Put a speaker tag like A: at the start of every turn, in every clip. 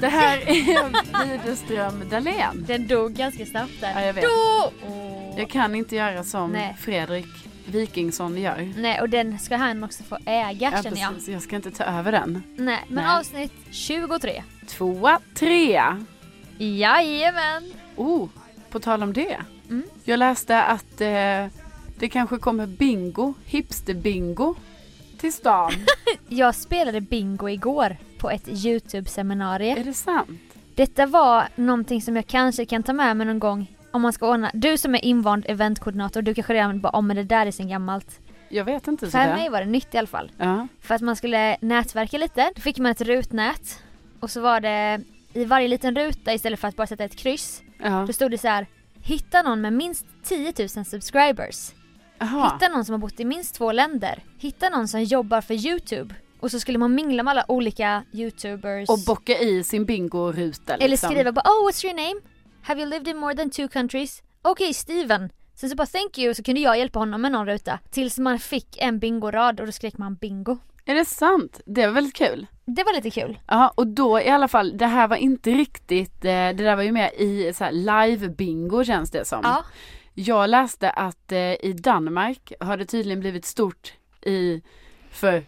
A: Det här är Widerström Dahlén.
B: Den dog ganska snabbt där.
A: Ja, jag vet.
B: Då!
A: Jag kan inte göra som
B: Nej.
A: Fredrik Wikingsson gör.
B: Nej, och den ska han också få äga
A: Ja,
B: känner jag.
A: precis. Jag ska inte ta över den.
B: Nej, men
A: Nej.
B: avsnitt 23.
A: Tvåa, trea.
B: Jajamän!
A: Oh, på tal om det.
B: Mm.
A: Jag läste att eh, det kanske kommer bingo, hipster-bingo till stan.
B: Jag spelade bingo igår på ett YouTube-seminarium.
A: Är det sant?
B: Detta var någonting som jag kanske kan ta med mig någon gång om man ska ordna. Du som är invand eventkoordinator, du kanske redan bara om men det där är sen gammalt.
A: Jag vet inte.
B: För
A: sådär.
B: mig var det nytt i alla fall.
A: Ja.
B: För att man skulle nätverka lite. Då fick man ett rutnät. Och så var det i varje liten ruta istället för att bara sätta ett kryss.
A: Ja.
B: Då stod det så här. Hitta någon med minst 10 000 subscribers.
A: Aha.
B: Hitta någon som har bott i minst två länder. Hitta någon som jobbar för YouTube. Och så skulle man mingla med alla olika YouTubers.
A: Och bocka i sin bingo-ruta. Liksom.
B: Eller skriva bara oh what's your name? Have you lived in more than two countries? Okej Steven. Sen så bara thank you så kunde jag hjälpa honom med någon ruta. Tills man fick en bingorad och då skrek man bingo.
A: Är det sant? Det var väldigt kul.
B: Det var lite kul.
A: Ja, och då i alla fall, det här var inte riktigt, eh, det där var ju mer i så här live-bingo känns det som.
B: Ja.
A: Jag läste att eh, i Danmark har det tydligen blivit stort i, för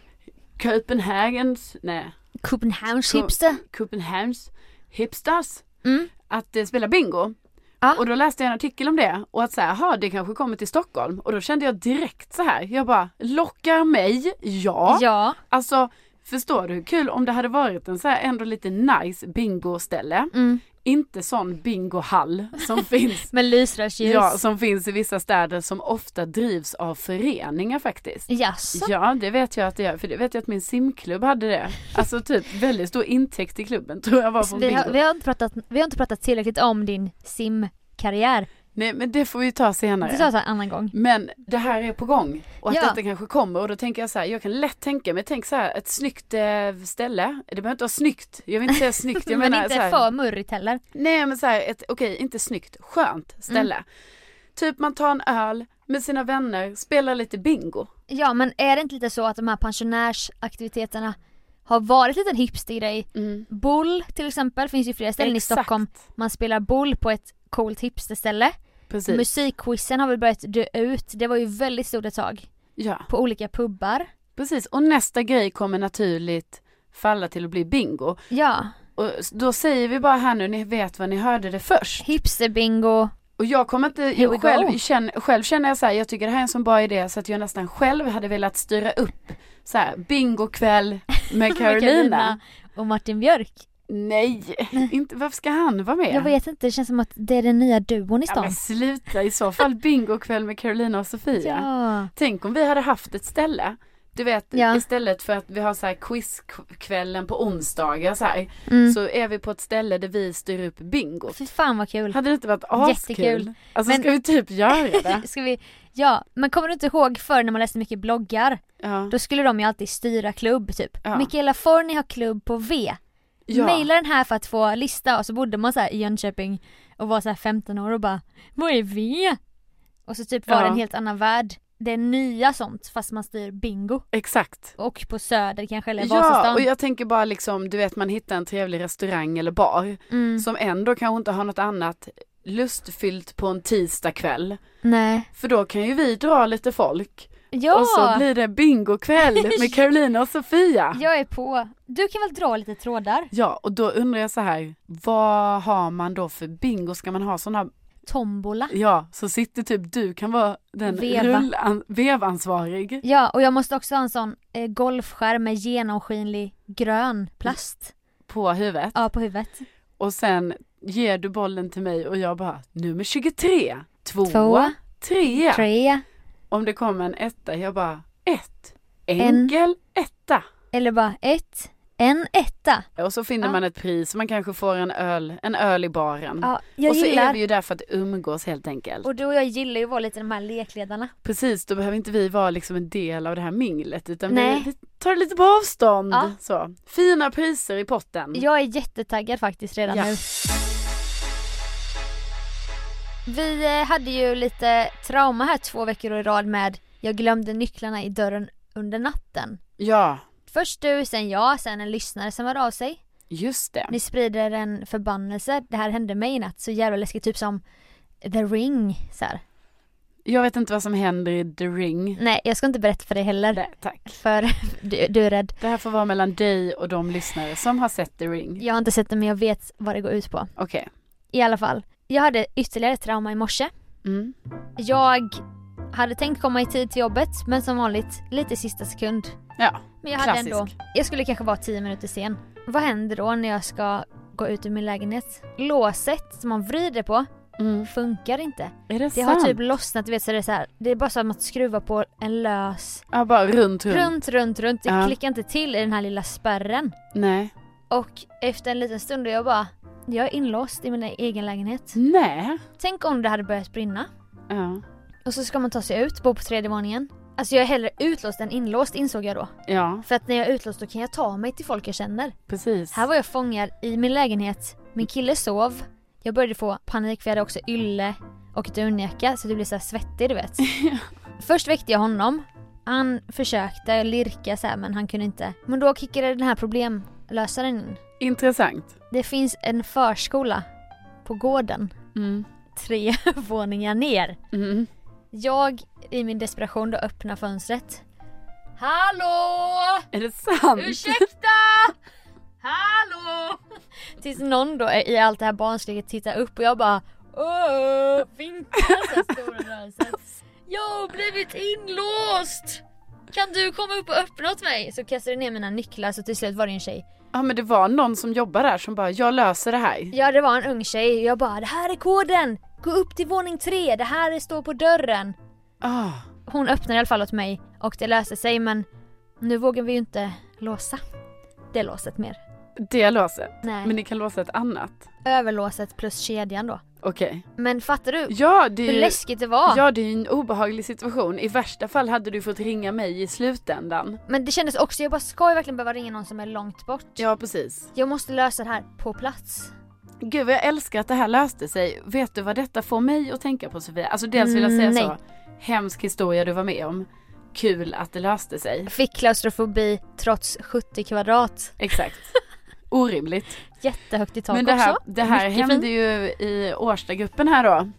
A: Köpenhagens, nej,
B: Copenhagens
A: Co-
B: hipster.
A: Köpenhamns hipsters
B: Mm.
A: att eh, spela bingo.
B: Ja.
A: Och då läste jag en artikel om det och att så här, aha, det kanske kommer till Stockholm. Och då kände jag direkt så här, jag bara, lockar mig, ja.
B: Ja.
A: Alltså, förstår du hur kul om det hade varit en så här ändå lite nice bingoställe.
B: Mm.
A: Inte sån bingohall som finns.
B: Med lysrörsljus.
A: Ja, som finns i vissa städer som ofta drivs av föreningar faktiskt.
B: Jaså?
A: Ja, det vet jag att det gör. För det vet jag att min simklubb hade det. Alltså typ väldigt stor intäkt i klubben tror jag var
B: Så
A: från
B: Alltså, Vi
A: bingo.
B: har, vi, har inte pratat, vi har inte pratat tillräckligt om din simkarriär.
A: Nej, men det får vi ta senare.
B: Det sa jag så här en annan gång.
A: Men det här är på gång och att
B: Ja.
A: detta kanske kommer och då tänker jag så här, jag kan lätt tänka mig, tänk så här, ett snyggt eh, ställe, det behöver inte vara snyggt, jag vill inte säga snyggt, jag
B: Men
A: menar
B: inte
A: så här,
B: för murrigt heller.
A: nej men så här, ett, okej, inte snyggt, skönt ställe.
B: Mm.
A: Typ man tar en öl med sina vänner, spelar lite bingo.
B: Ja men är det inte lite så att de här pensionärsaktiviteterna har varit lite en hipstergrej? Boll till exempel finns ju flera ställen Mm. i
A: Exakt.
B: Stockholm. Man spelar boll på ett coolt hipsterställe.
A: Precis.
B: Musikquizen har väl börjat dö ut. Det var ju väldigt stort ett tag.
A: ja,
B: På olika pubbar.
A: precis. Och nästa grej kommer naturligt falla till att bli bingo.
B: Ja.
A: Och s- då säger vi bara här nu, ni vet vad ni hörde det först.
B: Hipsterbingo.
A: Och jag kommer inte,
B: Here we
A: jag själv,
B: go.
A: känner, själv känner jag så här, jag tycker det här är en sån bra idé så att jag nästan själv hade velat styra upp så här, bingokväll med
B: Med
A: Carolina.
B: Och Martin Björk.
A: Nej, inte, varför ska han vara med?
B: Jag vet inte, det känns som att det är den nya duon i
A: ja, men
B: stan.
A: sluta i så fall bingokväll med Carolina och Sofia.
B: Ja.
A: Tänk om vi hade haft ett ställe, du vet
B: Ja.
A: istället för att vi har så här quizkvällen på onsdagar så här,
B: Mm.
A: så är vi på ett ställe där vi styr upp bingo.
B: Fy fan vad kul.
A: Hade det inte varit askul?
B: Jättekul.
A: Alltså
B: Men-
A: ska vi typ göra det?
B: Ska vi, ja, men kommer du inte ihåg förr när man läste mycket bloggar?
A: Ja.
B: Då skulle de ju alltid styra klubb typ.
A: Ja.
B: Mikaela Forni har klubb på V.
A: Ja.
B: Maila den här för att få lista och så bodde man så här i Jönköping och var så här 15 år och bara Vad är V? Och så typ var
A: Ja.
B: det en helt annan värld. Det är nya sånt fast man styr bingo.
A: Exakt.
B: Och på Söder kanske eller
A: Ja, och
B: Vasastan.
A: jag tänker bara liksom, du vet man hittar en trevlig restaurang eller bar
B: Mm.
A: som ändå kanske inte har något annat lustfyllt på en tisdagkväll.
B: Nej.
A: För då kan ju vi dra lite folk
B: Ja!
A: och så blir det bingokväll med Carolina och Sofia.
B: Jag är på. Du kan väl dra lite trådar?
A: Ja, och då undrar jag så här, vad har man då för bingo? Ska man ha sådana här,
B: Tombola.
A: ja, så sitter typ du kan vara den
B: Veva.
A: rullan, vevansvarig.
B: Ja, och jag måste också ha en sån eh, golfskärm med genomskinlig grön plast.
A: på huvudet
B: Ja, på huvudet.
A: och sen ger du bollen till mig och jag bara nummer 23, tvåa,
B: Tvåa,
A: trea.
B: Tre.
A: Om det kom en etta, jag bara ett,
B: En.
A: enkel etta.
B: Eller bara ett. En etta.
A: Och så finner
B: Ja.
A: man ett pris, man kanske får en öl, en öl i baren.
B: Ja, jag
A: Mm. och så är
B: gillar.
A: vi ju där för att umgås helt enkelt.
B: Och du och jag gillar ju att vara lite de här lekledarna.
A: Precis, då behöver inte vi vara liksom en del av det här minglet utan
B: Nej.
A: vi, vi tar lite på avstånd.
B: Ja.
A: Så. Fina priser i potten.
B: Jag är jättetaggad faktiskt redan
A: Mm. Ja.
B: nu. Vi eh, hade ju lite trauma här två veckor i rad med jag glömde nycklarna i dörren under natten.
A: ja.
B: Först du, sen jag, sen en lyssnare som hörde av sig.
A: Just det.
B: Ni sprider en förbannelse, det här hände mig i natt, så jävla läskigt, typ som The Ring så här.
A: Jag vet inte vad som händer i The Ring.
B: Nej, jag ska inte berätta för dig heller.
A: Nej, tack.
B: För du, du är rädd.
A: Det här får vara mellan dig och de lyssnare som har sett The Ring.
B: Jag har inte sett det men jag vet vad det går ut på.
A: Okej.
B: I alla fall. Jag hade ytterligare ett trauma i morse.
A: Mm.
B: Jag hade tänkt komma i tid till jobbet men som vanligt lite i sista sekund.
A: Ja,
B: Men jag hade
A: klassisk.
B: ändå, jag skulle kanske vara 10 minuter sen. Vad händer då när jag ska gå ut ur min lägenhet? Låset som man vrider på
A: Mm.
B: funkar inte.
A: Är det,
B: Det
A: sant?
B: har typ lossnat, du vet så det är så här, det är bara så att man skruvar på en lös
A: Ja, bara runt, runt.
B: runt, runt, runt. Det
A: Ja.
B: klickar inte till i den här lilla spärren.
A: Nej.
B: Och efter en liten stund är jag bara, jag är inlåst i min egen lägenhet.
A: Nej.
B: Tänk om det hade börjat brinna.
A: Ja.
B: Och så ska man ta sig ut, bo på tredje våningen. Alltså jag är hellre utlåst än inlåst insåg jag då.
A: Ja,
B: För att när jag är utlåst då kan jag ta mig till folk jag känner.
A: precis.
B: Här var jag fångad i min lägenhet. Min kille sov. Jag började få panik för jag hade också ylle och dunjacka så det blev så här svettig du vet. Först väckte jag honom. Han försökte lirka så här, men han kunde inte. Men då kickade den här problemlösaren in.
A: Intressant.
B: Det finns en förskola på gården.
A: Mm.
B: Tre våningar ner.
A: Mm.
B: Jag i min desperation då öppnar fönstret. Hallå!
A: Är det sant?
B: Ursäkta! Hallå! Tills någon då i allt det här barnsliget tittar upp och jag bara Åh, vinkar så här stora rörelsen. Jag har blivit inlåst! Kan du komma upp och öppna åt mig? Så kastade jag ner mina nycklar så till slut var det en tjej.
A: Ja, men det var någon som jobbar där som bara, jag löser det här.
B: Ja det var en ung tjej jag bara det här är koden! Gå upp till våning tre, det här står på dörren.
A: Ah.
B: Hon öppnade i alla fall åt mig och det löste sig men nu vågar vi ju inte låsa det låset mer.
A: Det låset.
B: Nej.
A: Men ni kan låsa ett annat.
B: överlåset plus kedjan då.
A: Okej.
B: Men fattar du
A: Ja, det är
B: hur
A: ju...
B: läskigt det var?
A: Ja, det är ju en obehaglig situation. I värsta fall hade du fått ringa mig i slutändan.
B: Men det kändes också, jag bara ska jag verkligen behöva ringa någon som är långt bort?
A: Ja, precis.
B: Jag måste lösa det här på plats.
A: Gud, vad jag älskar att det här löste sig. Vet du vad detta får mig att tänka på, Sofia? Alltså, dels vill jag
B: Mm,
A: säga
B: nej.
A: så. Hemsk historia du var med om. Kul att det löste sig.
B: Fick klaustrofobi trots 70 kvadrat.
A: Exakt. Orimligt.
B: Jättehögt i tak
A: Men det här,
B: också.
A: det här
B: Mycket
A: hände
B: fint.
A: ju i Årstagruppen här då,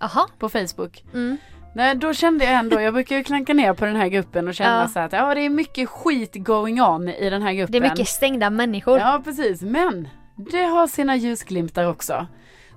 B: Aha.
A: på Facebook.
B: Mm.
A: Nej, då kände jag ändå, jag brukar ju klanka ner på den här gruppen och känna
B: Ja.
A: så här att ja, det är mycket skit going on i den här gruppen.
B: Det är mycket stängda människor.
A: Ja precis, men det har sina ljusglimtar också.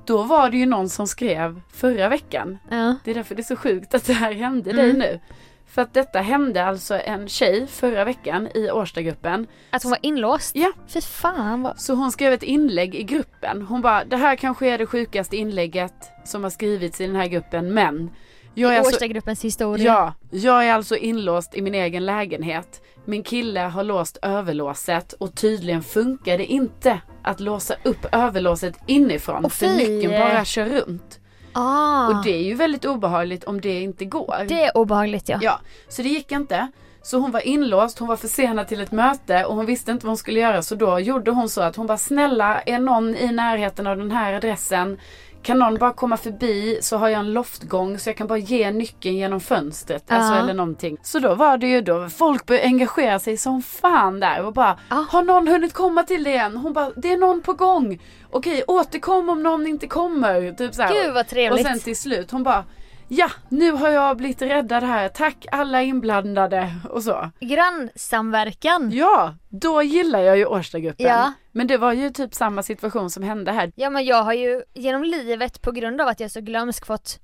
A: Då var det ju någon som skrev förra veckan.
B: Ja.
A: Det är därför det är så sjukt att det här hände dig
B: Mm.
A: nu. För att detta hände alltså en tjej förra veckan i Årstagruppen.
B: Att hon var inlåst.
A: Ja.
B: Fy fan vad...
A: Så hon skrev ett inlägg i gruppen. Hon bara, det här kanske är det sjukaste inlägget som har skrivits i den här gruppen men jag
B: I
A: är alltså så
B: Årstagruppens historia.
A: Ja, jag är alltså inlåst i min egen lägenhet. Min kille har låst överlåset och tydligen funkar det inte att låsa upp överlåset inifrån
B: Åh,
A: för
B: fy.
A: nyckeln bara kör runt.
B: Ah.
A: Och det är ju väldigt obehagligt om det inte går.
B: Det är obehagligt ja.
A: Ja, så det gick inte. Så hon var inlåst, hon var försenad till ett möte och hon visste inte vad hon skulle göra så då gjorde hon så att hon bara snälla är någon i närheten av den här adressen kan någon bara komma förbi så har jag en loftgång så jag kan bara ge nyckeln genom fönstret. Alltså
B: Ja.
A: eller någonting. Så då var det ju då folk började engagera sig som fan där och bara
B: Ja.
A: Har någon hunnit komma till det än? Hon bara det är någon på gång. Okej återkom om någon inte kommer. Typ så här.
B: Gud vad trevligt.
A: Och sen till slut hon bara Ja, nu har jag blivit räddad här. Tack alla inblandade och så.
B: Grannsamverkan.
A: Ja, då gillar jag ju Årstagruppen.
B: Ja.
A: Men det var ju typ samma situation som hände här.
B: Ja men jag har ju genom livet på grund av att jag är så glömsk fått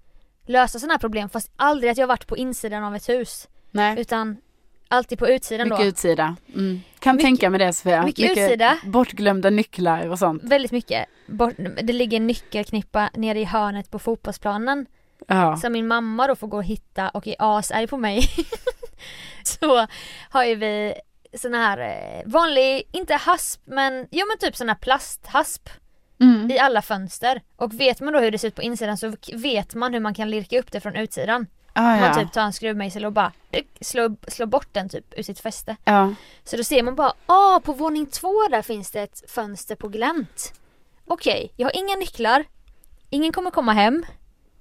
B: lösa sådana här problem fast aldrig att jag varit på insidan av ett hus
A: Nej,
B: utan alltid på utsidan
A: mycket
B: då.
A: utsida. Mm. Kan
B: Mycket-
A: tänka mig det Sofia.
B: mycket utsida.
A: Bortglömda nycklar och sånt.
B: Väldigt mycket. Bort, det ligger en nyckelknippa nere i hörnet på fotbollsplanen
A: Ja.
B: som min mamma då får gå och hitta och är asarg på mig. så har ju vi sån här eh, vanlig, inte hasp men, ja men typ sån här plasthasp
A: Mm.
B: i alla fönster. Och vet man då hur det ser ut på insidan så vet man hur man kan lirka upp det från utsidan.
A: Ah,
B: Man
A: ja.
B: typ tar en skruvmejsel och bara eh, slår, slår bort den typ ur sitt fäste.
A: ja.
B: Så då ser man bara, ah på våning två där finns det ett fönster på glänt. Okej, jag har inga nycklar. Ingen kommer komma hem.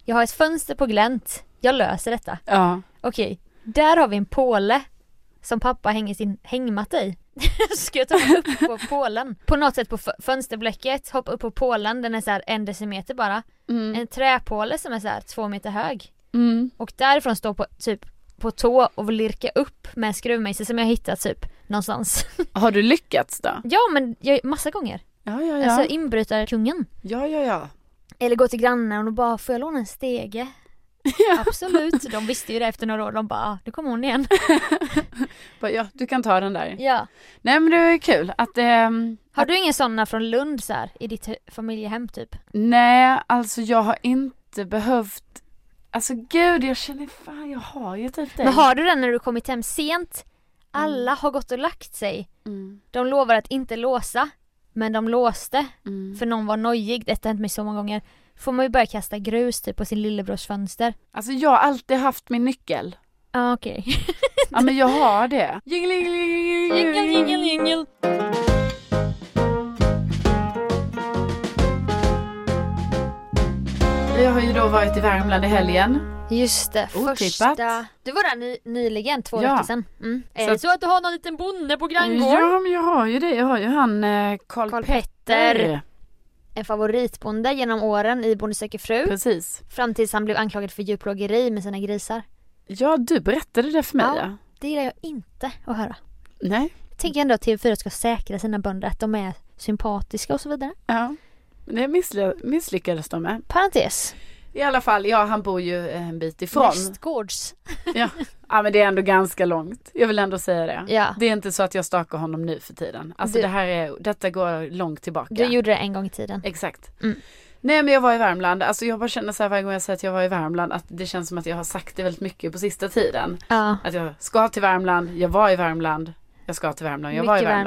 B: Jag har ett fönster på glänt. Jag löser detta.
A: ja.
B: Okej, där har vi en påle som pappa hänger sin hängmatta i. Ska jag ta mig upp på pålen? På något sätt på fö- fönsterblecket, hoppa upp på pålen, den är så här en decimeter bara.
A: Mm.
B: En träpåle som är så här två meter hög.
A: Mm.
B: Och därifrån stå på typ på tå och lirka upp med en skruvmejsel som jag hittat typ någonstans.
A: Har du lyckats då?
B: Ja men jag, massa gånger.
A: Ja, ja,
B: Alltså
A: ja.
B: inbrytarkungen.
A: Ja, ja, ja.
B: Eller gå till grannen och bara får jag låna en stege? Absolut, de visste ju det efter några år. De bara ah, nu kommer hon igen.
A: Bara, ja du kan ta den där.
B: Ja.
A: Nej men det är kul att ehm,
B: Har du inga sådana från Lund så här, i ditt hu- familjehem typ?
A: Nej, alltså jag har inte behövt Alltså gud, jag känner fan, jag har ju typ det.
B: Men har du den när du kommit hem sent? Alla har gått och lagt sig.
A: Mm,
B: De lovar att inte låsa. Men de låste
A: mm.
B: för någon var nojig. Detta har hänt mig så många gånger. Får man ju börja kasta grus typ på sin lillebrors fönster.
A: Alltså jag har alltid haft min nyckel.
B: Ja okej.
A: Ja men jag har det.
B: Jingel, jingel, jingel.
A: Vi har ju då varit i Värmland i helgen.
B: Just det,
A: Otippat.
B: första... Du var där ny, nyligen, två
A: Ja.
B: veckor sedan. Mm. Är
A: Så
B: det så att du har någon liten bonde på granngården?
A: Ja men jag har ju det, jag har ju han eh, Karl
B: Karl Petter,
A: Petter.
B: en favoritbonde genom åren i Bonde söker fru.
A: Precis.
B: Fram tills han blev anklagad för djurplågeri med sina grisar.
A: Ja du berättade det för mig
B: Ja.
A: ja.
B: Det gillar jag inte att höra.
A: Nej.
B: Tänk ändå att TV4 ska säkra sina bönder, att de är sympatiska och så vidare.
A: Ja. Men Det missly- misslyckades de med.
B: Parentes.
A: I alla fall, ja han bor ju en bit ifrån.
B: Nästgårds.
A: Ja men det är ändå ganska långt. Jag vill ändå säga det.
B: Ja.
A: Det är inte så att jag stakar honom nu för tiden. Alltså
B: Du-
A: det här är, detta går långt tillbaka.
B: Du gjorde det en gång i tiden.
A: Exakt.
B: Mm.
A: Nej men jag var i Värmland, alltså jag bara känner så här varje gång jag säger att jag var i Värmland att det känns som att jag har sagt det väldigt mycket på sista tiden.
B: Ja.
A: Att jag ska till Värmland, jag var i Värmland, jag ska till Värmland, jag var i
B: Mycket
A: Värmland.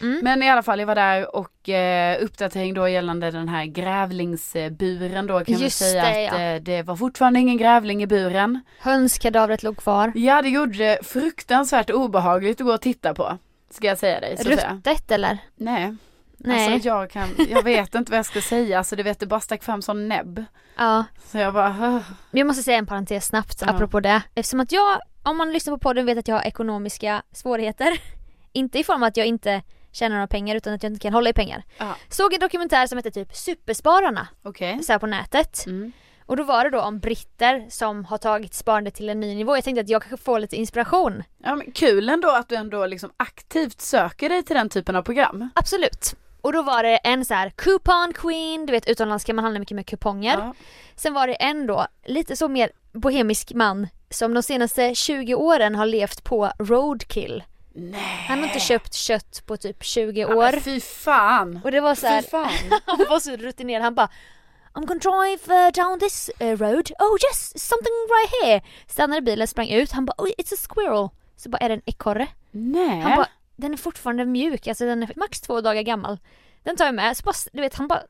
B: Värmland. Mm.
A: Men i alla fall jag var där och eh, uppdatering då gällande den här grävlingsburen då kan vi
B: Just
A: säga
B: det,
A: att
B: ja.
A: eh, det var fortfarande ingen grävling i buren.
B: Hönskadavret låg kvar.
A: Ja det gjorde det fruktansvärt obehagligt att gå och titta på. Ska jag säga dig. Så att säga.
B: Ruttet eller?
A: Nej.
B: Nej.
A: Alltså jag kan, jag vet inte vad jag ska säga, alltså du vet det bara stack fram sån näbb.
B: Ja.
A: Så jag bara, "Åh."
B: Men Jag måste säga en parentes snabbt
A: Ja.
B: apropå det. Eftersom att jag, om man lyssnar på podden vet att jag har ekonomiska svårigheter. inte i form av att jag inte tjänar några pengar utan att jag inte kan hålla i pengar.
A: Ja.
B: Såg en dokumentär som hette typ Superspararna,
A: okej.
B: så här på nätet.
A: Mm.
B: Och då var det då om britter som har tagit sparande till en ny nivå. Jag tänkte att jag kanske får lite inspiration.
A: Ja men kul ändå att du ändå liksom aktivt söker dig till den typen av program.
B: Absolut. Och då var det en så här coupon queen, du vet utomlands kan man handla mycket med kuponger.
A: Ja.
B: Sen var det en då, lite så mer bohemisk man som de senaste 20 åren har levt på roadkill.
A: Nej.
B: Han har inte köpt kött på typ
A: Äh.
B: 20
A: Ja, men
B: år.
A: Fy fan.
B: Och det var så här,
A: Fy fan.
B: han var så rutinerad, han bara I'm gonna drive uh, down this uh, road, oh yes, something right here. Stannade bilen, sprang ut, han bara oh, it's a squirrel. Så bara är det en ekorre.
A: Nej.
B: Han bara den är fortfarande mjuk, alltså den är max två dagar gammal. Den tar jag med, så bara, du vet han bara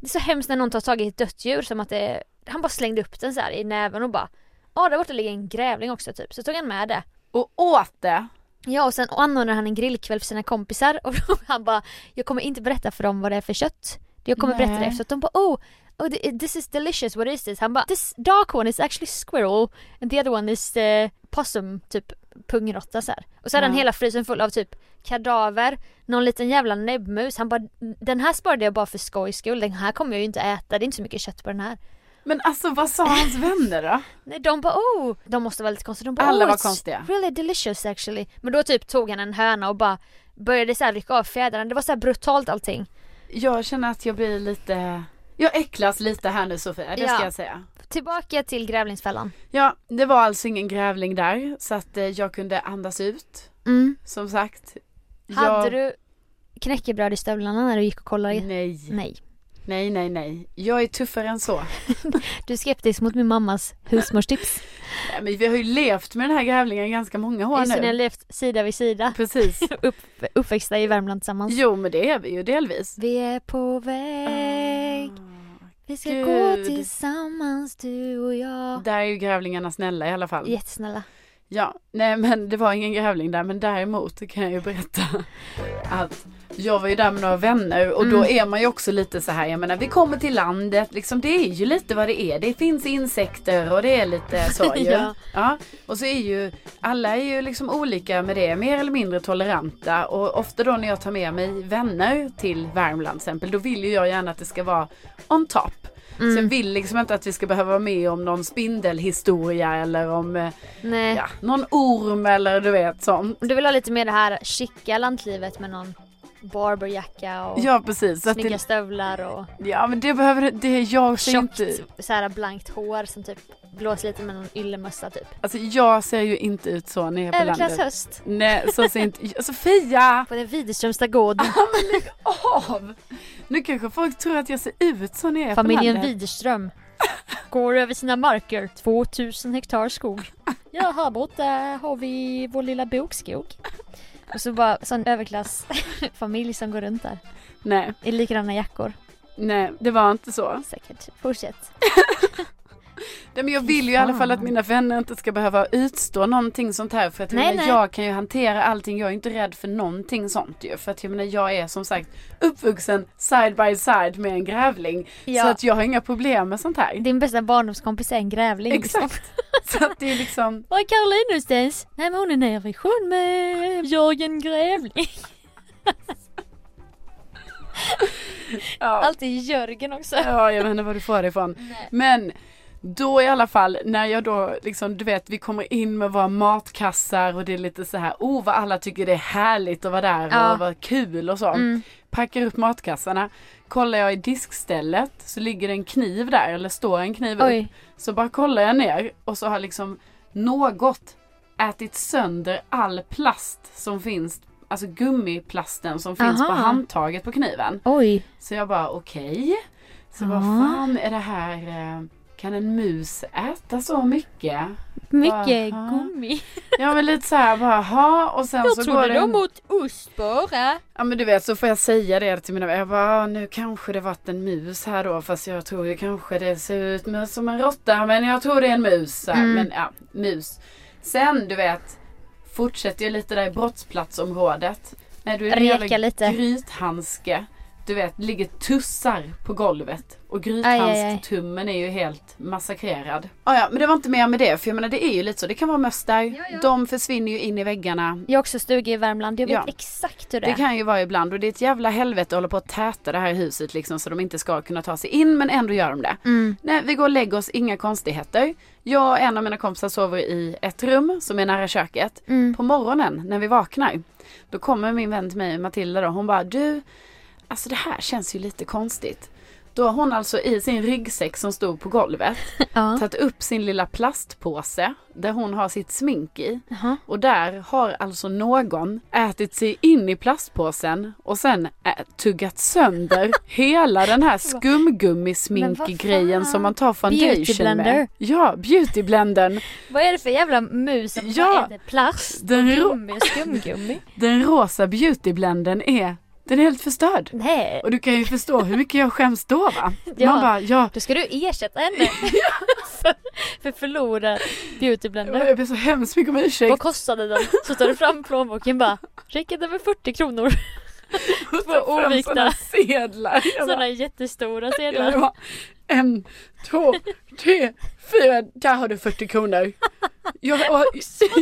B: Det är så hemskt när någon tar tag i ett dött djur som att det Han bara slängde upp den så här i näven och bara Ja där borta ligger en grävling också typ, så tog han med det.
A: Och åt det.
B: Ja och sen anordnade han en grillkväll för sina kompisar och då, han bara Jag kommer inte berätta för dem vad det är för kött. Jag kommer
A: Nej.
B: berätta det efteråt. De bara oh, oh th- this is delicious, what is this? Han bara this dark one is actually squirrel and the other one is eh, possum, typ pungråtta så här. Och så hade
A: Ja.
B: han hela frysen full av typ kadaver, någon liten jävla näbbmus. Han bara den här sparade jag bara för skojs skull, den här kommer jag ju inte äta, det är inte så mycket kött på den här.
A: Men alltså vad sa hans vänner då?
B: Nej, de bara oh, de måste vara lite konstiga. De bara,
A: Alla
B: oh,
A: var
B: it's
A: konstiga.
B: Really delicious actually. Men då typ tog han en höna och bara började så här rycka av fjädrarna. Det var så här brutalt allting.
A: Jag känner att jag blir lite, jag äcklas lite här nu Sofia, det ska
B: Ja.
A: jag säga.
B: Tillbaka till Grävlingsfällan.
A: Ja, det var alltså ingen grävling där så att eh, jag kunde andas ut.
B: Mm.
A: Som sagt.
B: Hade
A: jag...
B: du knäckebröd i stövlarna när du gick och kollade?
A: Nej,
B: Nej.
A: nej, nej, nej. Jag är tuffare än så.
B: Du är skeptisk mot min mammas husmorstips.
A: Nej, men vi har ju levt med den här grävlingen ganska många år
B: Just det, ni har
A: nu.
B: levt sida vid sida.
A: Precis.
B: Uppväxta i Värmland tillsammans.
A: Jo, men det är vi ju delvis.
B: Vi är på väg. Vi ska gå
A: Gud.
B: tillsammans du och jag.
A: Där är ju grävlingarna snälla i alla fall.
B: Jättesnälla.
A: Ja, nej men det var ingen grävling där men däremot kan jag ju berätta att Jag var ju där med några vänner och då
B: Mm.
A: är man ju också lite så här, jag menar vi kommer till landet, liksom det är ju lite vad det är. Det finns insekter och det är lite så ju.
B: Ja.
A: ja. Och så är ju, alla är ju liksom olika med det, mer eller mindre toleranta och ofta då när jag tar med mig vänner till Värmland till exempel, då vill ju jag gärna att det ska vara on top. Så jag
B: Mm.
A: vill liksom inte att vi ska behöva vara med om någon spindelhistoria eller om eh,
B: Nej.
A: ja, någon orm eller du vet sånt.
B: Du vill ha lite mer det här chicka lantlivet med någon barberjacka och
A: Ja precis. Så att
B: snygga
A: det,
B: stövlar och
A: ja men det behöver det- det jag ser
B: tjockt
A: inte.
B: så här blankt hår som typ blåser lite med någon yllemössa typ.
A: Alltså jag ser ju inte ut så nere på
B: Överklass
A: landet.
B: höst
A: Nej så ser inte alltså, Sofia!
B: på den Widerströmsta gård.
A: Av! Nu kanske folk tror att jag ser ut så nere på
B: Familjen
A: landet.
B: Widerström går över sina marker, 2000 hektar skog. Ja, här borta har vi vår lilla bokskog. Och så bara sån överklassfamilj som går runt där
A: Nej,
B: i likadana jackor
A: nej det var inte så.
B: säkert. Fortsätt.
A: Nej, men jag vill ju i alla
B: Fan.
A: fall att mina vänner inte ska behöva utstå någonting sånt här för att jag,
B: Nej,
A: menar,
B: nej.
A: jag kan ju hantera allting. Jag är inte rädd för någonting sånt ju. För att jag menar jag är som sagt uppvuxen side by side med en grävling. Så
B: Ja,
A: att jag har inga problem med sånt här.
B: din bästa barndomskompis är en grävling. liksom.
A: Exakt. så att det är liksom
B: Var är Caroline någonstans? Nej men hon är nere i sjön med Jörgen Grävling.
A: ja.
B: Alltid Jörgen också.
A: Ja, jag vet inte var du får det ifrån.
B: Nej.
A: Men då i alla fall när jag då liksom, du vet, vi kommer in med våra matkassar och det är lite så här, oh vad alla tycker det är härligt att vara där
B: Ja.
A: och vad kul och så.
B: Mm.
A: Packar upp matkassarna, kollar jag i diskstället så ligger det en kniv där eller står en kniv upp.
B: Oj,
A: Så bara kollar jag ner och så har liksom något ätit sönder all plast som finns, alltså gummiplasten som finns på
B: Aha.
A: handtaget på kniven.
B: oj.
A: Så jag bara okej. Så vad
B: Ja.
A: fan är det här? eh, Kan en mus äta så mycket?
B: Mycket
A: Aha.
B: gummi.
A: Ja men lite så här bara ha och sen så går det en...
B: åt ost bara.
A: Ja men du vet så får jag säga det till mina vänner. Jag bara "Ah, nu kanske det varit en mus här då fast jag tror ju kanske det ser ut med- som en råtta men jag tror det är en mus. Så här.
B: Mm.
A: Men ja, mus. Sen du vet fortsätter jag lite där i brottsplatsområdet. Nej, du är det en jävla
B: Reka lite.
A: grythandske. Du vet, ligger tussar på golvet. Och
B: aj, aj.
A: grythandstummen är ju helt massakrerad. Ah, ja, men det var inte mer med det. För jag menar det är ju lite så. Det kan vara möster. De försvinner ju in i väggarna.
B: Jag har också stuga i Värmland, jag vet
A: Ja.
B: exakt hur det,
A: Det kan ju vara ibland och det är ett jävla helvete att hålla på att täta det här huset liksom så de inte ska kunna ta sig in men ändå gör de det.
B: är. Mm.
A: Nej, vi går och lägger oss, inga konstigheter. Jag och en av mina kompisar sover i ett rum som är nära köket.
B: Mm.
A: På morgonen när vi vaknar, då kommer min vän till mig, Matilda då, hon bara du, alltså det här känns ju lite konstigt. Då har hon alltså i sin ryggsäck som stod på golvet
B: Ja.
A: tagit upp sin lilla plastpåse där hon har sitt smink i.
B: Jaha.
A: Och där har alltså någon ätit sig in i plastpåsen och sen ä- tuggat sönder hela den här
B: Men
A: skumgummisminkgrejen
B: vad fan?
A: som man tar foundation
B: Beautyblender.
A: med. Ja, beautyblendern.
B: Vad är det för jävla mus som
A: Ja.
B: bara äter plast?
A: Den rå-
B: Gummi och skumgummi.
A: Den rosa beautyblendern är, den är helt förstörd.
B: Nej,
A: Och du kan ju förstå hur mycket jag skäms då va?
B: Ja.
A: Man bara, ja,
B: då ska du ersätta henne. för, för förlorad beautyblender.
A: jag ber så hemskt mycket om
B: Vad
A: ursäkt.
B: kostade den? Så tar du fram plånboken bara Räcker det med 40 kronor?
A: Och
B: vad
A: ta fram
B: ovikna.
A: såna sedlar. Jag bara,
B: Sådana jättestora
A: jag
B: sedlar.
A: bara, en, två, tre, fyra, där har du 40 kronor. Jag, jag,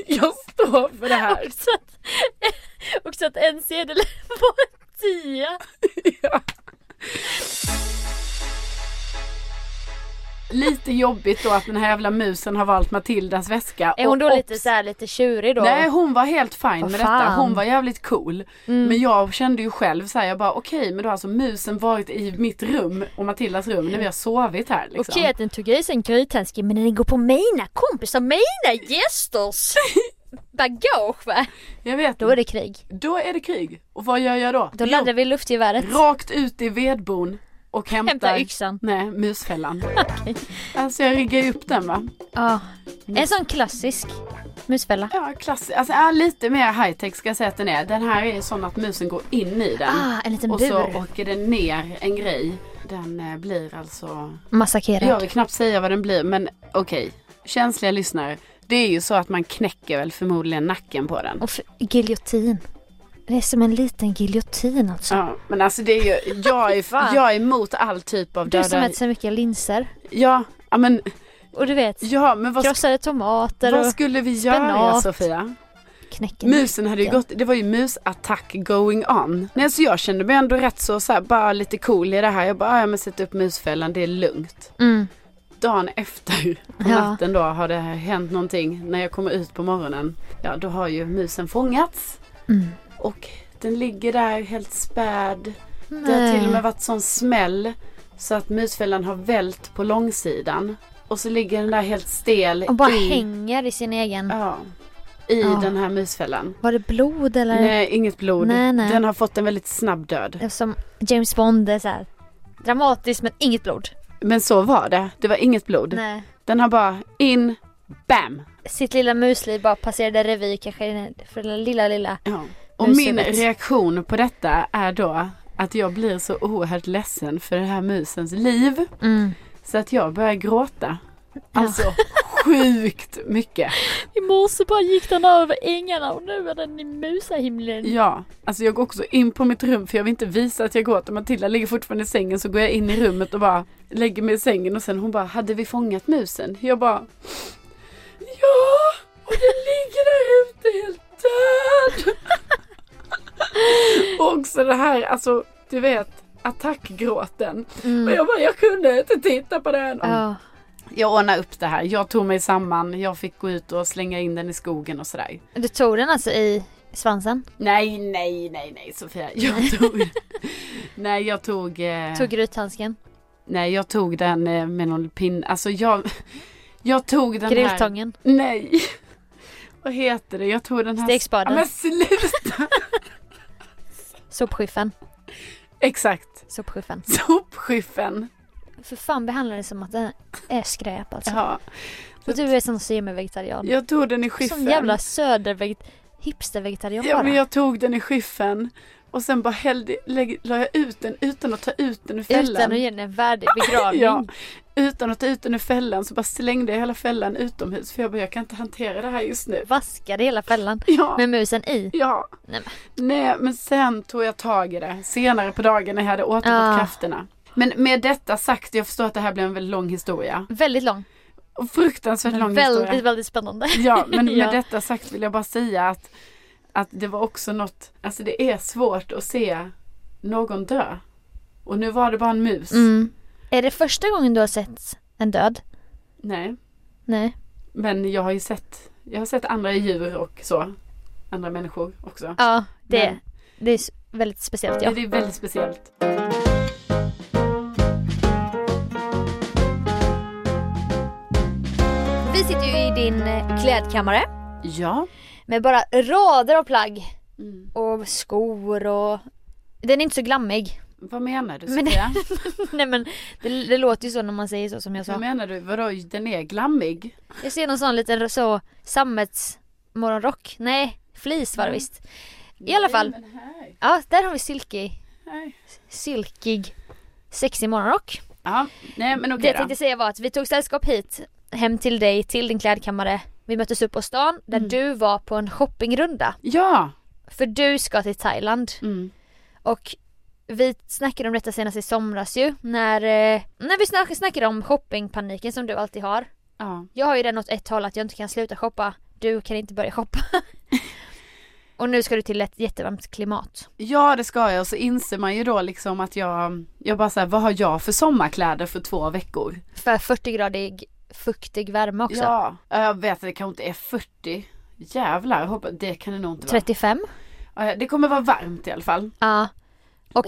A: jag står för det här.
B: Och så att, och så att en sedel var en tia.
A: Ja. Lite jobbigt då att den här jävla musen har valt Matildas väska.
B: Är hon då
A: Och-
B: lite så här, lite tjurig då?
A: Nej hon var helt fin
B: Vad
A: med detta.
B: fan. Mm.
A: Hon var jävligt cool. Men jag kände ju själv så här, jag bara okej men då har alltså musen varit i mitt rum och Matildas rum när vi har sovit här liksom.
B: Okej att den tog i sig en grythandske men den går på mina kompisar, mina gästers bagage va?
A: Jag vet.
B: Då är det krig.
A: Då är det krig. Och vad gör jag då?
B: Då laddar vi luftgeväret.
A: jo, rakt ut i vedbon och hämtar,
B: Hämtar yxan.
A: Nej, musfällan. Alltså jag riggar ju upp den va.
B: Ja. En sån klassisk musfälla.
A: Ja, klassiskt. Alltså ja, lite mer high tech ska jag säga att den är. Den här är ju sån att musen går in i den.
B: Ah, en liten
A: och så
B: bur.
A: åker den ner en grej. Den eh, blir alltså Jag
B: Massakrerad.
A: vill knappt säga vad den blir men okej. Känsliga lyssnare. Det är ju så att man knäcker väl förmodligen nacken på den.
B: Och f- giljotin. Det är som en liten giljotin alltså.
A: Ja, men alltså det är ju, jag är,
B: Fan.
A: jag är emot all typ av
B: Du
A: döda.
B: som äter så mycket linser.
A: ja, ja, men,
B: Och du vet,
A: ja, men vad,
B: krossade tomater
A: vad
B: och
A: skulle vi göra
B: spenat.
A: Sofia?
B: knäcken.
A: Musen hade ju gått, det var ju musattack going on. Nej, så jag kände mig ändå rätt så, så här, bara lite cool i det här. Jag bara, "Ah, ja men sätt upp musfällan, det är lugnt.
B: Mm.
A: Dagen efter, på
B: Ja.
A: natten då, har det här hänt någonting. När jag kommer ut på morgonen, ja då har ju musen fångats.
B: Mm.
A: Och den ligger där helt späd. Det har
B: Nej.
A: till och med varit sån smäll så att musfällan har vält på långsidan. Och så ligger den där helt stel
B: Och bara
A: i,
B: hänger i sin egen...
A: ja, i
B: Ja.
A: den här musfällan.
B: Var det blod eller?
A: Nej, inget blod.
B: Nej, nej.
A: Den har fått en väldigt snabb död.
B: Som James Bond är så här. Dramatiskt men inget blod.
A: Men så var det. Det var inget blod.
B: Nej.
A: Den har bara in, bam!
B: Sitt lilla musliv bara passerade revy kanske för den lilla lilla.
A: Ja. Och
B: Musen
A: min
B: vet.
A: reaktion på detta är då att jag blir så oerhört ledsen för den här musens liv.
B: Mm.
A: Så att jag börjar gråta. Alltså sjukt mycket.
B: I morse bara gick den över ängarna och nu är den i musahimlen.
A: Ja, alltså jag går också in på mitt rum för jag vill inte visa att jag gråter. Matilda ligger fortfarande i sängen så går jag in i rummet och bara lägger mig i sängen och sen hon bara, hade vi fångat musen? Jag bara, ja! Och den ligger där ute helt död! och också det här, alltså du vet attackgråten. Och
B: Mm.
A: jag bara, jag kunde inte titta på den.
B: Ja.
A: Jag ordnade upp det här, jag tog mig samman, jag fick gå ut och slänga in den i skogen och sådär.
B: Du tog den alltså i svansen?
A: Nej, nej, nej, nej Sofia. Jag tog... nej, jag tog... Eh...
B: Tog grythandsken?
A: Nej, jag tog den eh, med någon pinne. Alltså jag... Jag tog den här...
B: Grilltången?
A: Nej. Vad heter det? Jag tog den här... Ja,
B: Stekspaden?
A: men sluta!
B: Sopskyffen?
A: Exakt.
B: Sopskyffen?
A: Sopskyffen.
B: För fan behandlar det som att den är skräp alltså.
A: Ja.
B: Och du är sån semivegetarian.
A: Jag tog den i skyffen.
B: Som jävla söderveget... Hipstervegetarian
A: Ja,
B: bara.
A: men jag tog den i skyffen. Och sen bara hällde, lägg, la jag ut den utan att ta ut den ur fällan.
B: Utan att ge den en värdig begravning.
A: Ja, utan att ta ut den ur fällan så bara slängde jag hela fällan utomhus för jag bara, jag kan inte hantera det här just nu.
B: Vaskade hela fällan.
A: Ja,
B: Med musen i.
A: ja.
B: Nej,
A: Nej, men sen tog jag tag i det senare på dagen när jag hade återfått
B: Ah.
A: krafterna. Men med detta sagt, jag förstår att det här blev en väldigt lång historia.
B: Väldigt lång.
A: Och Fruktansvärt lång
B: väldigt,
A: historia.
B: väldigt spännande.
A: Ja, men med
B: Ja.
A: detta sagt vill jag bara säga att, att det var också något, alltså det är svårt att se någon dö. Och nu var det bara en mus.
B: Mm. Är det första gången du har sett en död?
A: Nej.
B: Nej.
A: Men jag har ju sett, jag har sett andra
B: Mm.
A: djur och så. Andra människor också.
B: Ja, det,
A: Men-
B: det är s- väldigt speciellt ja.
A: Det är väldigt speciellt.
B: Vi sitter ju i din eh, klädkammare
A: Ja.
B: med bara rader av plagg
A: Mm.
B: och skor och den är inte så glammig.
A: Vad menar du
B: Men-
A: Sofia?
B: Nej men det, det låter ju så när man säger så som jag
A: Vad
B: sa.
A: menar du? Vadå, den är glammig?
B: Jag ser någon sån liten så sammetsmorgonrock. Nej, flis var det
A: Mm.
B: visst. I alla fall.
A: Nej, men här.
B: Ja, där har vi silkig,
A: Nej.
B: silkig, sexig morgonrock.
A: Ja, nej men
B: det
A: okej
B: jag
A: då.
B: tänkte säga var att vi tog sällskap hit, hem till dig, till din klädkammare. Vi möttes upp på stan där
A: Mm.
B: du var på en shoppingrunda.
A: Ja.
B: För du ska till Thailand.
A: Mm.
B: Och vi snackade om detta senast i somras ju. När, eh, när vi snack, snackade om shoppingpaniken som du alltid har.
A: Ja.
B: Jag har ju den åt ett håll att jag inte kan sluta shoppa. Du kan inte börja shoppa. och nu ska du till ett jättevarmt klimat.
A: ja, det ska jag. Och så inser man ju då liksom att jag, jag bara säger, vad har jag för sommarkläder för två veckor?
B: För 40-gradig fuktig värme också.
A: Ja. Ja, Jag vet att det kanske inte är 40. Jävlar, jag hoppas, det kan det nog inte vara.
B: 35.
A: Ja, Det kommer vara varmt i alla fall.
B: Ja. Och,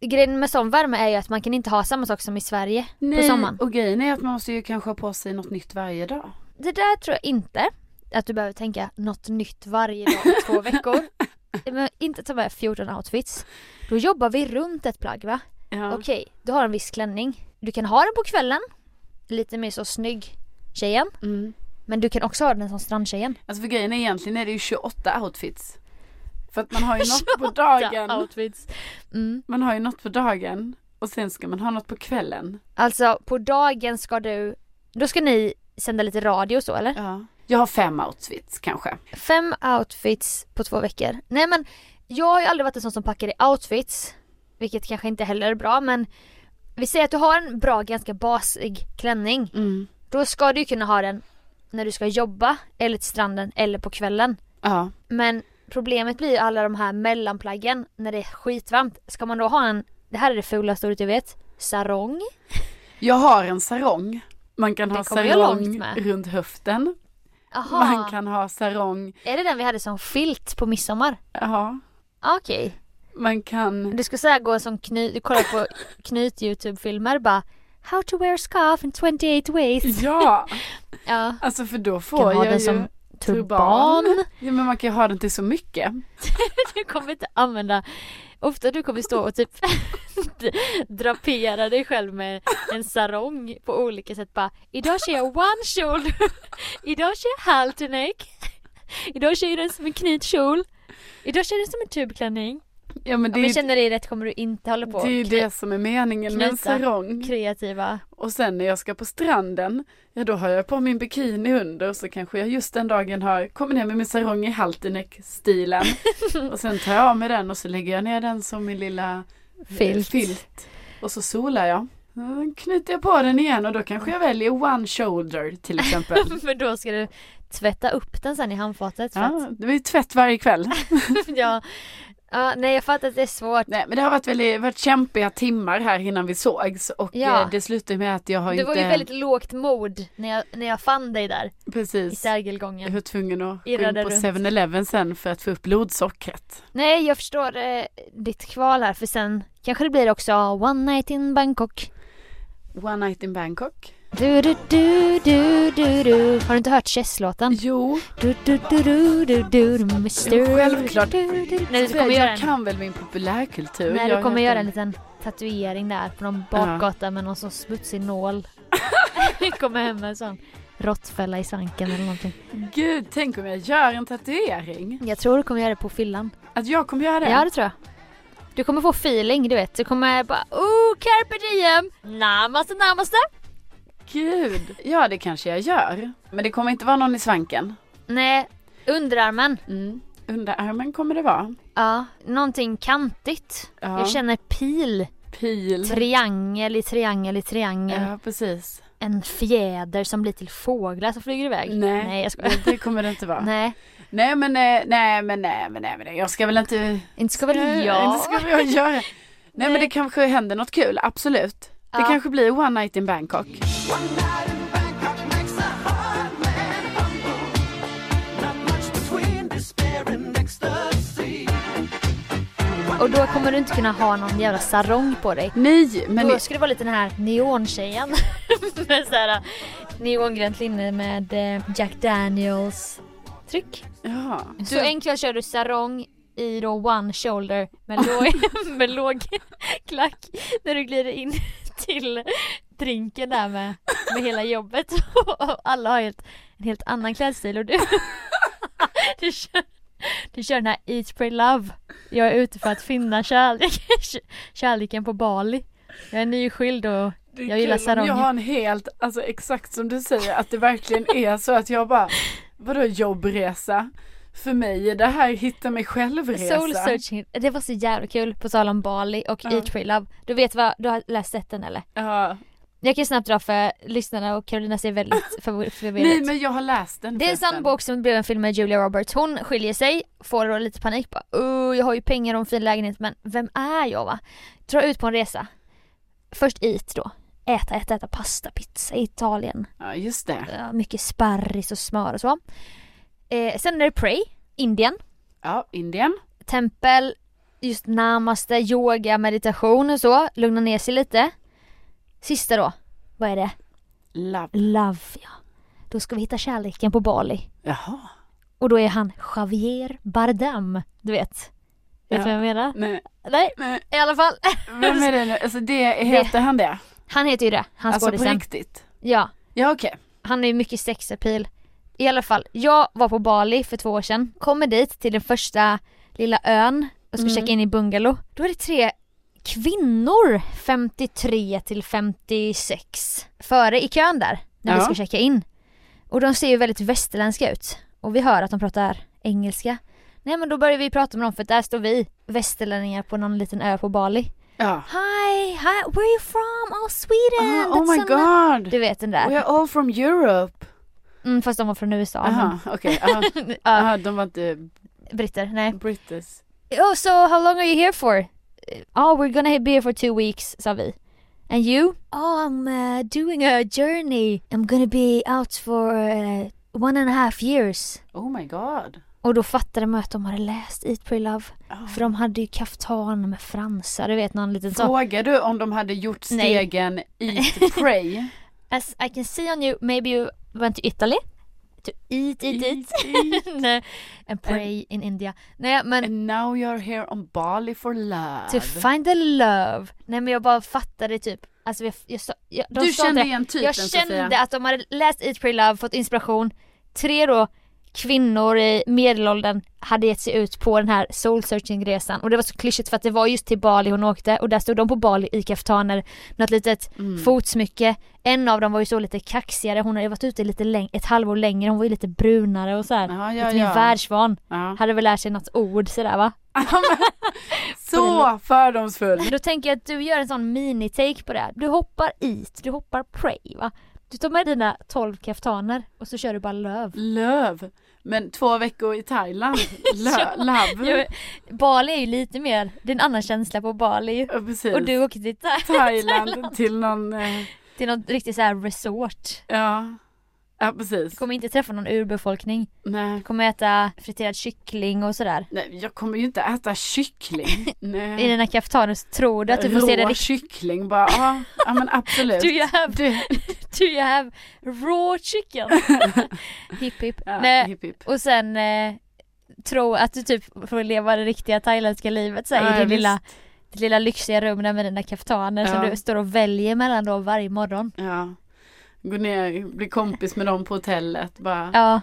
B: grejen med sån värme är ju att man kan inte ha samma sak som i Sverige på sommaren.
A: och grejen är att man måste ju kanske ha på sig något nytt varje dag.
B: Det där tror jag inte att du behöver tänka något nytt varje dag i två veckor. Men inte ta med 14 outfits. Då jobbar vi runt ett plagg va?
A: Ja.
B: Okej, du har en viss klänning. Du kan ha den på kvällen. Lite mer så snygg tjejen.
A: Mm.
B: Men du kan också ha den som strandtjejen.
A: Alltså för grejen är egentligen är det ju 28 outfits. För att man har ju något på dagen.
B: outfits. Mm.
A: Man har ju något på dagen. Och sen ska man ha något på kvällen.
B: Alltså på dagen ska du, då ska ni sända lite radio så eller?
A: Ja. Jag har fem outfits kanske.
B: Fem outfits på två veckor. Nej men Jag har ju aldrig varit en sån som packar i outfits. Vilket kanske inte heller är bra men vi säger att du har en bra, ganska basig klänning.
A: Mm.
B: Då ska du ju kunna ha den när du ska jobba eller till stranden eller på kvällen.
A: Ja.
B: Men problemet blir ju alla de här mellanplaggen när det är skitvarmt. Ska man då ha en, det här är det fulaste ordet jag vet, sarong?
A: Jag har en sarong. Man kan
B: Den
A: ha
B: kommer jag långt
A: sarong
B: med.
A: runt höften.
B: Aha.
A: Man kan ha sarong,
B: Är det den vi hade som filt på midsommar?
A: ja.
B: Okej.
A: Man kan,
B: Du skulle säga gå som knyt, du kollar på knyt YouTube-filmer bara How to wear scarf in 28 ways.
A: ja.
B: Ja.
A: Alltså för då
B: Du kan
A: Mm. får
B: ha
A: jag ju.
B: den som turban.
A: turban. Ja men man kan ju ha den till så mycket.
B: Du kommer inte använda Ofta du kommer stå och typ drapera dig själv med en sarong på olika sätt bara Idag kör jag one shoulder Idag kör jag halterneck Idag kör jag den som en knytkjol Idag kör jag den som en tubklänning
A: Ja men det
B: Om
A: är
B: jag
A: ju
B: känner dig rätt kommer du inte hålla på
A: det, är ju
B: och
A: det som är meningen med en
B: knyta.
A: sarong.
B: kreativa
A: Och sen när jag ska på stranden, ja då har jag på min bikini under så kanske jag just den dagen har, kommer ner med min sarong i halterneck-stilen. och sen tar jag av mig den och så lägger jag ner den som min lilla eh,
B: filt.
A: filt. Och så solar jag. Mm, Knyter jag på den igen och då kanske jag väljer one shoulder till exempel.
B: Men då ska du tvätta upp den sen i handfatet för
A: Ja, det blir tvätt varje kväll.
B: att jag Ja, nej jag fattar att det är svårt.
A: Nej men det har varit väldigt varit kämpiga timmar här innan vi sågs och
B: Ja.
A: eh, det slutade med att jag har
B: Du
A: inte
B: var ju väldigt lågt mod när jag, när jag fann dig där i
A: precis jag
B: Sergelgången.
A: var tvungen att gå in
B: Irrade
A: på
B: runt.
A: 7-Eleven sen för att få upp blodsockret.
B: Nej jag förstår eh, ditt kval här för sen kanske det blir också One night in Bangkok.
A: One night in Bangkok.
B: Du, du, du, du, du, du. Har du inte hört Chess-låten?
A: Jo,
B: Du, du, du, du, du, du, du,
A: Jo,
B: Mr.
A: självklart.
B: Du, du, du. Nej, du kommer
A: jag
B: göra en,
A: kan väl min populärkultur.
B: nej,
A: Jag
B: du
A: har
B: kommer
A: hört
B: göra
A: den.
B: en liten tatuering där på någon bakgata med någon sån smutsig nål. Du kommer hem med en sån råttfälla i svanken eller någonting.
A: Gud, tänk om jag gör en tatuering.
B: Jag tror du kommer göra det på fyllan.
A: Att jag kommer göra det.
B: Ja det tror jag. Du kommer få feeling du vet. Du kommer bara oh carpe diem, namaste namaste.
A: Gud. Ja, det kanske jag gör. Men det kommer inte vara någon i svanken.
B: Nej, underarmen.
A: Mm. Underarmen kommer det vara.
B: Ja, någonting kantigt.
A: Ja.
B: Jag känner pil,
A: Pil.
B: triangel i triangel i triangel.
A: Ja, precis.
B: En fjäder som blir till fåglar som flyger iväg.
A: Nej.
B: Nej jag skojar.
A: Det, det kommer det inte vara. Nej,
B: Nej,
A: men nej, nej, men nej, men nej, men nej. Jag ska väl inte...
B: inte ska väl
A: Inte
B: jag.
A: ska väl jag göra. Nej, men det kanske händer något kul, absolut. Det
B: Ja.
A: kanske blir One Night in Bangkok.
C: One night in Bangkok makes a hard man humble. Not much between despair and ecstasy.
B: Och då kommer du inte kunna ha någon jävla sarong på dig.
A: Nej, men...
B: Då ska det vara lite den här neontjejen. med så här eh, neongrönt linne med eh, Jack Daniels tryck.
A: Ja.
B: Så en kväll kör du sarong i då one shoulder med låg, med låg klack när du glider in till drinken där med, med hela jobbet och alla har helt, en helt annan klädstil och du, du, kör, du kör den här Eat, Pray, Love. Jag är ute för att finna kärlek, kärleken på Bali. Jag är nyskild och
A: Det är
B: Jag gillar
A: kul om
B: sarong.
A: Jag har en helt, alltså exakt som du säger, att det verkligen är så att jag bara, vadå jobbresa? För mig är det här hitta mig själv-resa.
B: Soul searching, det var så jävla kul på tal om Bali och
A: Ja.
B: Eat, Pray, Love. Du vet vad, du har läst sett den eller?
A: Ja.
B: Jag kan snabbt dra för lyssnarna och Carolina ser väldigt förv- förvirrad
A: Nej
B: ut.
A: men jag har läst den.
B: Det är en
A: förresten.
B: sann bok som blev en film med Julia Roberts. Hon skiljer sig, får då lite panik bara oh, jag har ju pengar och en fin lägenhet men vem är jag va? Drar ut på en resa. Först eat då. Äta, äta, äta pasta, pizza i Italien.
A: Ja just det.
B: Ja, mycket sparris och smör och så. Eh, sen är det pray, Indien.
A: Ja, Indien.
B: Tempel, just namaste, yoga, meditation och så. Lugna ner sig lite. Sista då, vad är det?
A: Love.
B: Love ja. Då ska vi hitta kärleken på Bali.
A: Jaha.
B: Och då är han Javier Bardem. Du vet. Vet du
A: Ja.
B: vad jag menar?
A: Nej,
B: Nej,
A: nej.
B: i alla fall.
A: Vem är det nu? Alltså det, heter han det?
B: Han heter ju det, han
A: Alltså på
B: skådisen.
A: riktigt?
B: Ja,
A: Ja okej.
B: han är ju mycket sexapil. I alla fall, jag var på Bali för två år sedan. Kommer dit till den första lilla ön och ska checka in i bungalow. Då är det tre kvinnor, 53 till 56, före i kön där. När vi
A: Ja.
B: ska checka in. Och de ser ju väldigt västerländska ut. Och vi hör att de pratar engelska. Nej men då börjar vi prata med dem för där står vi västerlänningar på någon liten ö på Bali.
A: Ja.
B: Hi, hi, where are you from? Oh Sweden!
A: Ah, oh
B: that's
A: my
B: so ni-
A: god.
B: Du vet den där.
A: We are all from Europe.
B: Mm, fast de var från USA.
A: Aha, okej. aha.
B: men- ja,
A: Aha, de var inte
B: britter, nej.
A: brittis.
B: Oh so how long are you here for? Oh we're gonna be here for two weeks, sa vi. And you? Oh I'm uh, doing a journey. I'm gonna be out for uh, one and a half years.
A: Oh my god.
B: Och då fattade man att de hade läst Eat Pray Love.
A: Ah.
B: För de hade ju kaftan med fransar, du vet någon liten sån.
A: Frågar du om de hade gjort
B: Nej.
A: stegen Eat Pray?
B: As I can see on you, maybe you went to Italy? To eat, eat, eat. Nej, And pray in India. Nej men
A: And now you're here on Bali for love.
B: to find the love. Nej men jag bara fattade typ, alltså jag, jag, sa- jag, de
A: du
B: sa
A: kände
B: inte-
A: igen typen
B: Jag kände
A: Sofia. Mm.
B: att de hade läst Eat, Pray, Love, fått inspiration. Tre då kvinnor i medelåldern hade gett sig ut på den här soul searching resan och det var så klyschigt för att det var just till Bali hon åkte och där stod de på Bali i kaftaner, något litet
A: Mm.
B: fotsmycke. En av dem var ju så lite kaxigare, hon hade ju varit ute lite läng- ett halvår längre, hon var ju lite brunare och så här.
A: Ja, ja,
B: lite mer
A: ja.
B: världsvan.
A: Ja.
B: Hade väl lärt sig något ord sådär va?
A: Så fördomsfull.
B: Då tänker jag att du gör en sån mini-take på det här. Du hoppar it, du hoppar pray va? Du tar med dina 12 kaftaner och så kör du bara löv.
A: Löv. Men två veckor i Thailand. Lö- love.
B: Jo, Bali är ju lite mer, det är en annan känsla på Bali ju.
A: Ja, precis.
B: Och du åker till Tha-
A: Thailand, till någon, eh,
B: till något riktigt så här resort.
A: ja. Ja
B: Du
A: precis.
B: kommer inte träffa någon urbefolkning.
A: Nej.
B: Du kommer äta friterad kyckling och sådär.
A: Nej, jag kommer ju inte äta kyckling.
B: I
A: Nej.
B: dina kaftaner så tror du att du får se det
A: Rå
B: riktigt.
A: kyckling bara, ja, ja men absolut.
B: Do you have,
A: Du-
B: do you have raw chicken? hipp hipp.
A: Ja,
B: Nej,
A: hipp, hipp.
B: Och sen eh, tro att du typ får leva det riktiga thailändska livet så här,
A: Ja,
B: i det
A: visst.
B: lilla, ditt lilla lyxiga rum där med dina kaftaner som
A: Ja.
B: du står och väljer mellan då varje morgon.
A: Ja. Gå ner, bli kompis med dem på hotellet bara.
B: Ja.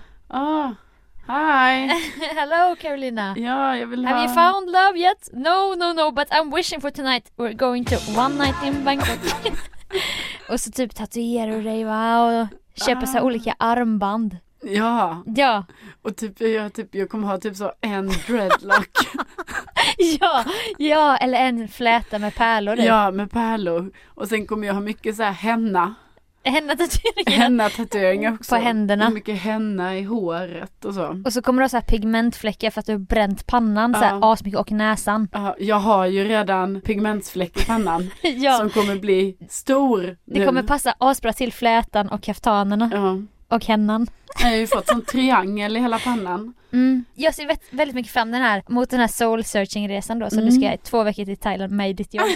A: Ah, hi.
B: Hello Carolina!
A: Ja, jag vill ha.
B: Have you found love yet? No, no, no, but I'm wishing for tonight we're going to one night in Bangkok. och så typ tatuerar du dig va och köper så här
A: Ah.
B: olika armband.
A: Ja,
B: Ja,
A: och typ jag, typ jag kommer ha typ så en dreadlock.
B: ja, ja, eller en fläta med pärlor typ. i.
A: ja, med pärlor. Och sen kommer jag ha mycket så här henna.
B: Henna tatueringar.
A: Henna-tatueringar också.
B: På händerna.
A: Och mycket henna i håret och så.
B: Och så kommer du ha så här pigmentfläckar för att du har bränt pannan så här
A: Ja.
B: asmycket och näsan.
A: Ja, jag har ju redan pigmentsfläck i pannan
B: ja,
A: som kommer bli stor nu.
B: det kommer passa asbra till flätan och kaftanerna
A: ja.
B: och hennan.
A: Jag har ju fått sån triangel i hela pannan.
B: Mm. Jag ser vä- väldigt mycket fram den här, mot den här soul searching resan då som du ska
A: Mm.
B: göra i två veckor till Thailand med i ditt jobb.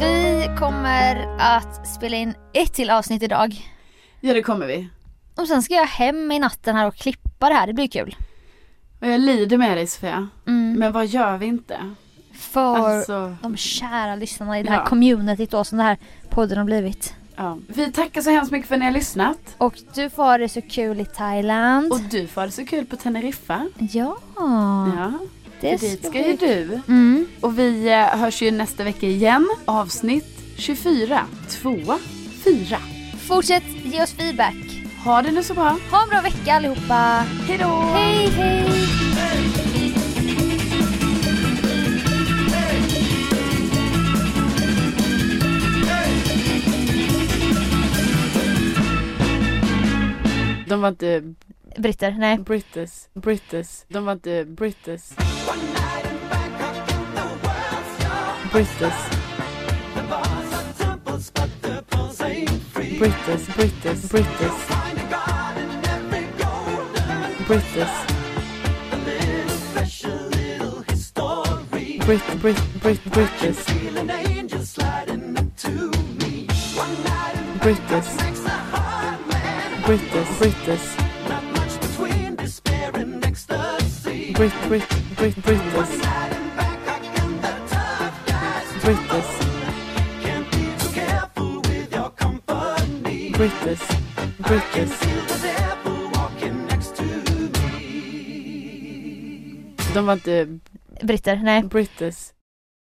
B: Vi kommer att spela in ett till avsnitt idag.
A: Ja, det kommer vi.
B: Och sen ska jag hem i natten här och klippa det här, det blir kul.
A: Och jag lider med dig Sofia.
B: Mm.
A: Men vad gör vi inte?
B: För
A: Alltså,
B: de kära lyssnarna i det här
A: Ja.
B: communityt då som den här podden har blivit.
A: ja. Vi tackar så hemskt mycket för att ni har lyssnat.
B: Och du får ha det så kul i Thailand.
A: Och du får ha det så kul på Teneriffa.
B: Ja,
A: Ja,
B: det
A: dit ska
B: vi-
A: ju du.
B: Mm.
A: Och vi eh, hörs ju nästa vecka igen. Avsnitt 24, 2, 4.
B: Fortsätt ge oss feedback.
A: Ha det nu så bra.
B: Ha en bra vecka allihopa.
A: Hej då!
B: Hej hej!
A: De var inte
B: Britter, nej.
A: brittis, brittis. De var inte brittis,
C: One night in Bangkok and the world's yours.
A: brittis,
C: The bars are temples, but the pulse ain't free.
A: brittis, brittis, brittis,
C: Find a God in every golden
A: brittis.
C: little special little history.
A: Brit, Brit, Brit, British,
C: Feel an angel sliding up to me. One night in
A: British,
C: makes a hard man.
A: British, British,
C: Not much between despair and ecstasy.
A: Brit, Brit, Brit, British,
C: Night in Bangkok and the tough guys.
A: British,
C: Can't be too careful with your company.
A: British,
C: Can
A: British.
C: feel the devil walking next to me.
A: De var inte
B: Britter, nej.
A: British.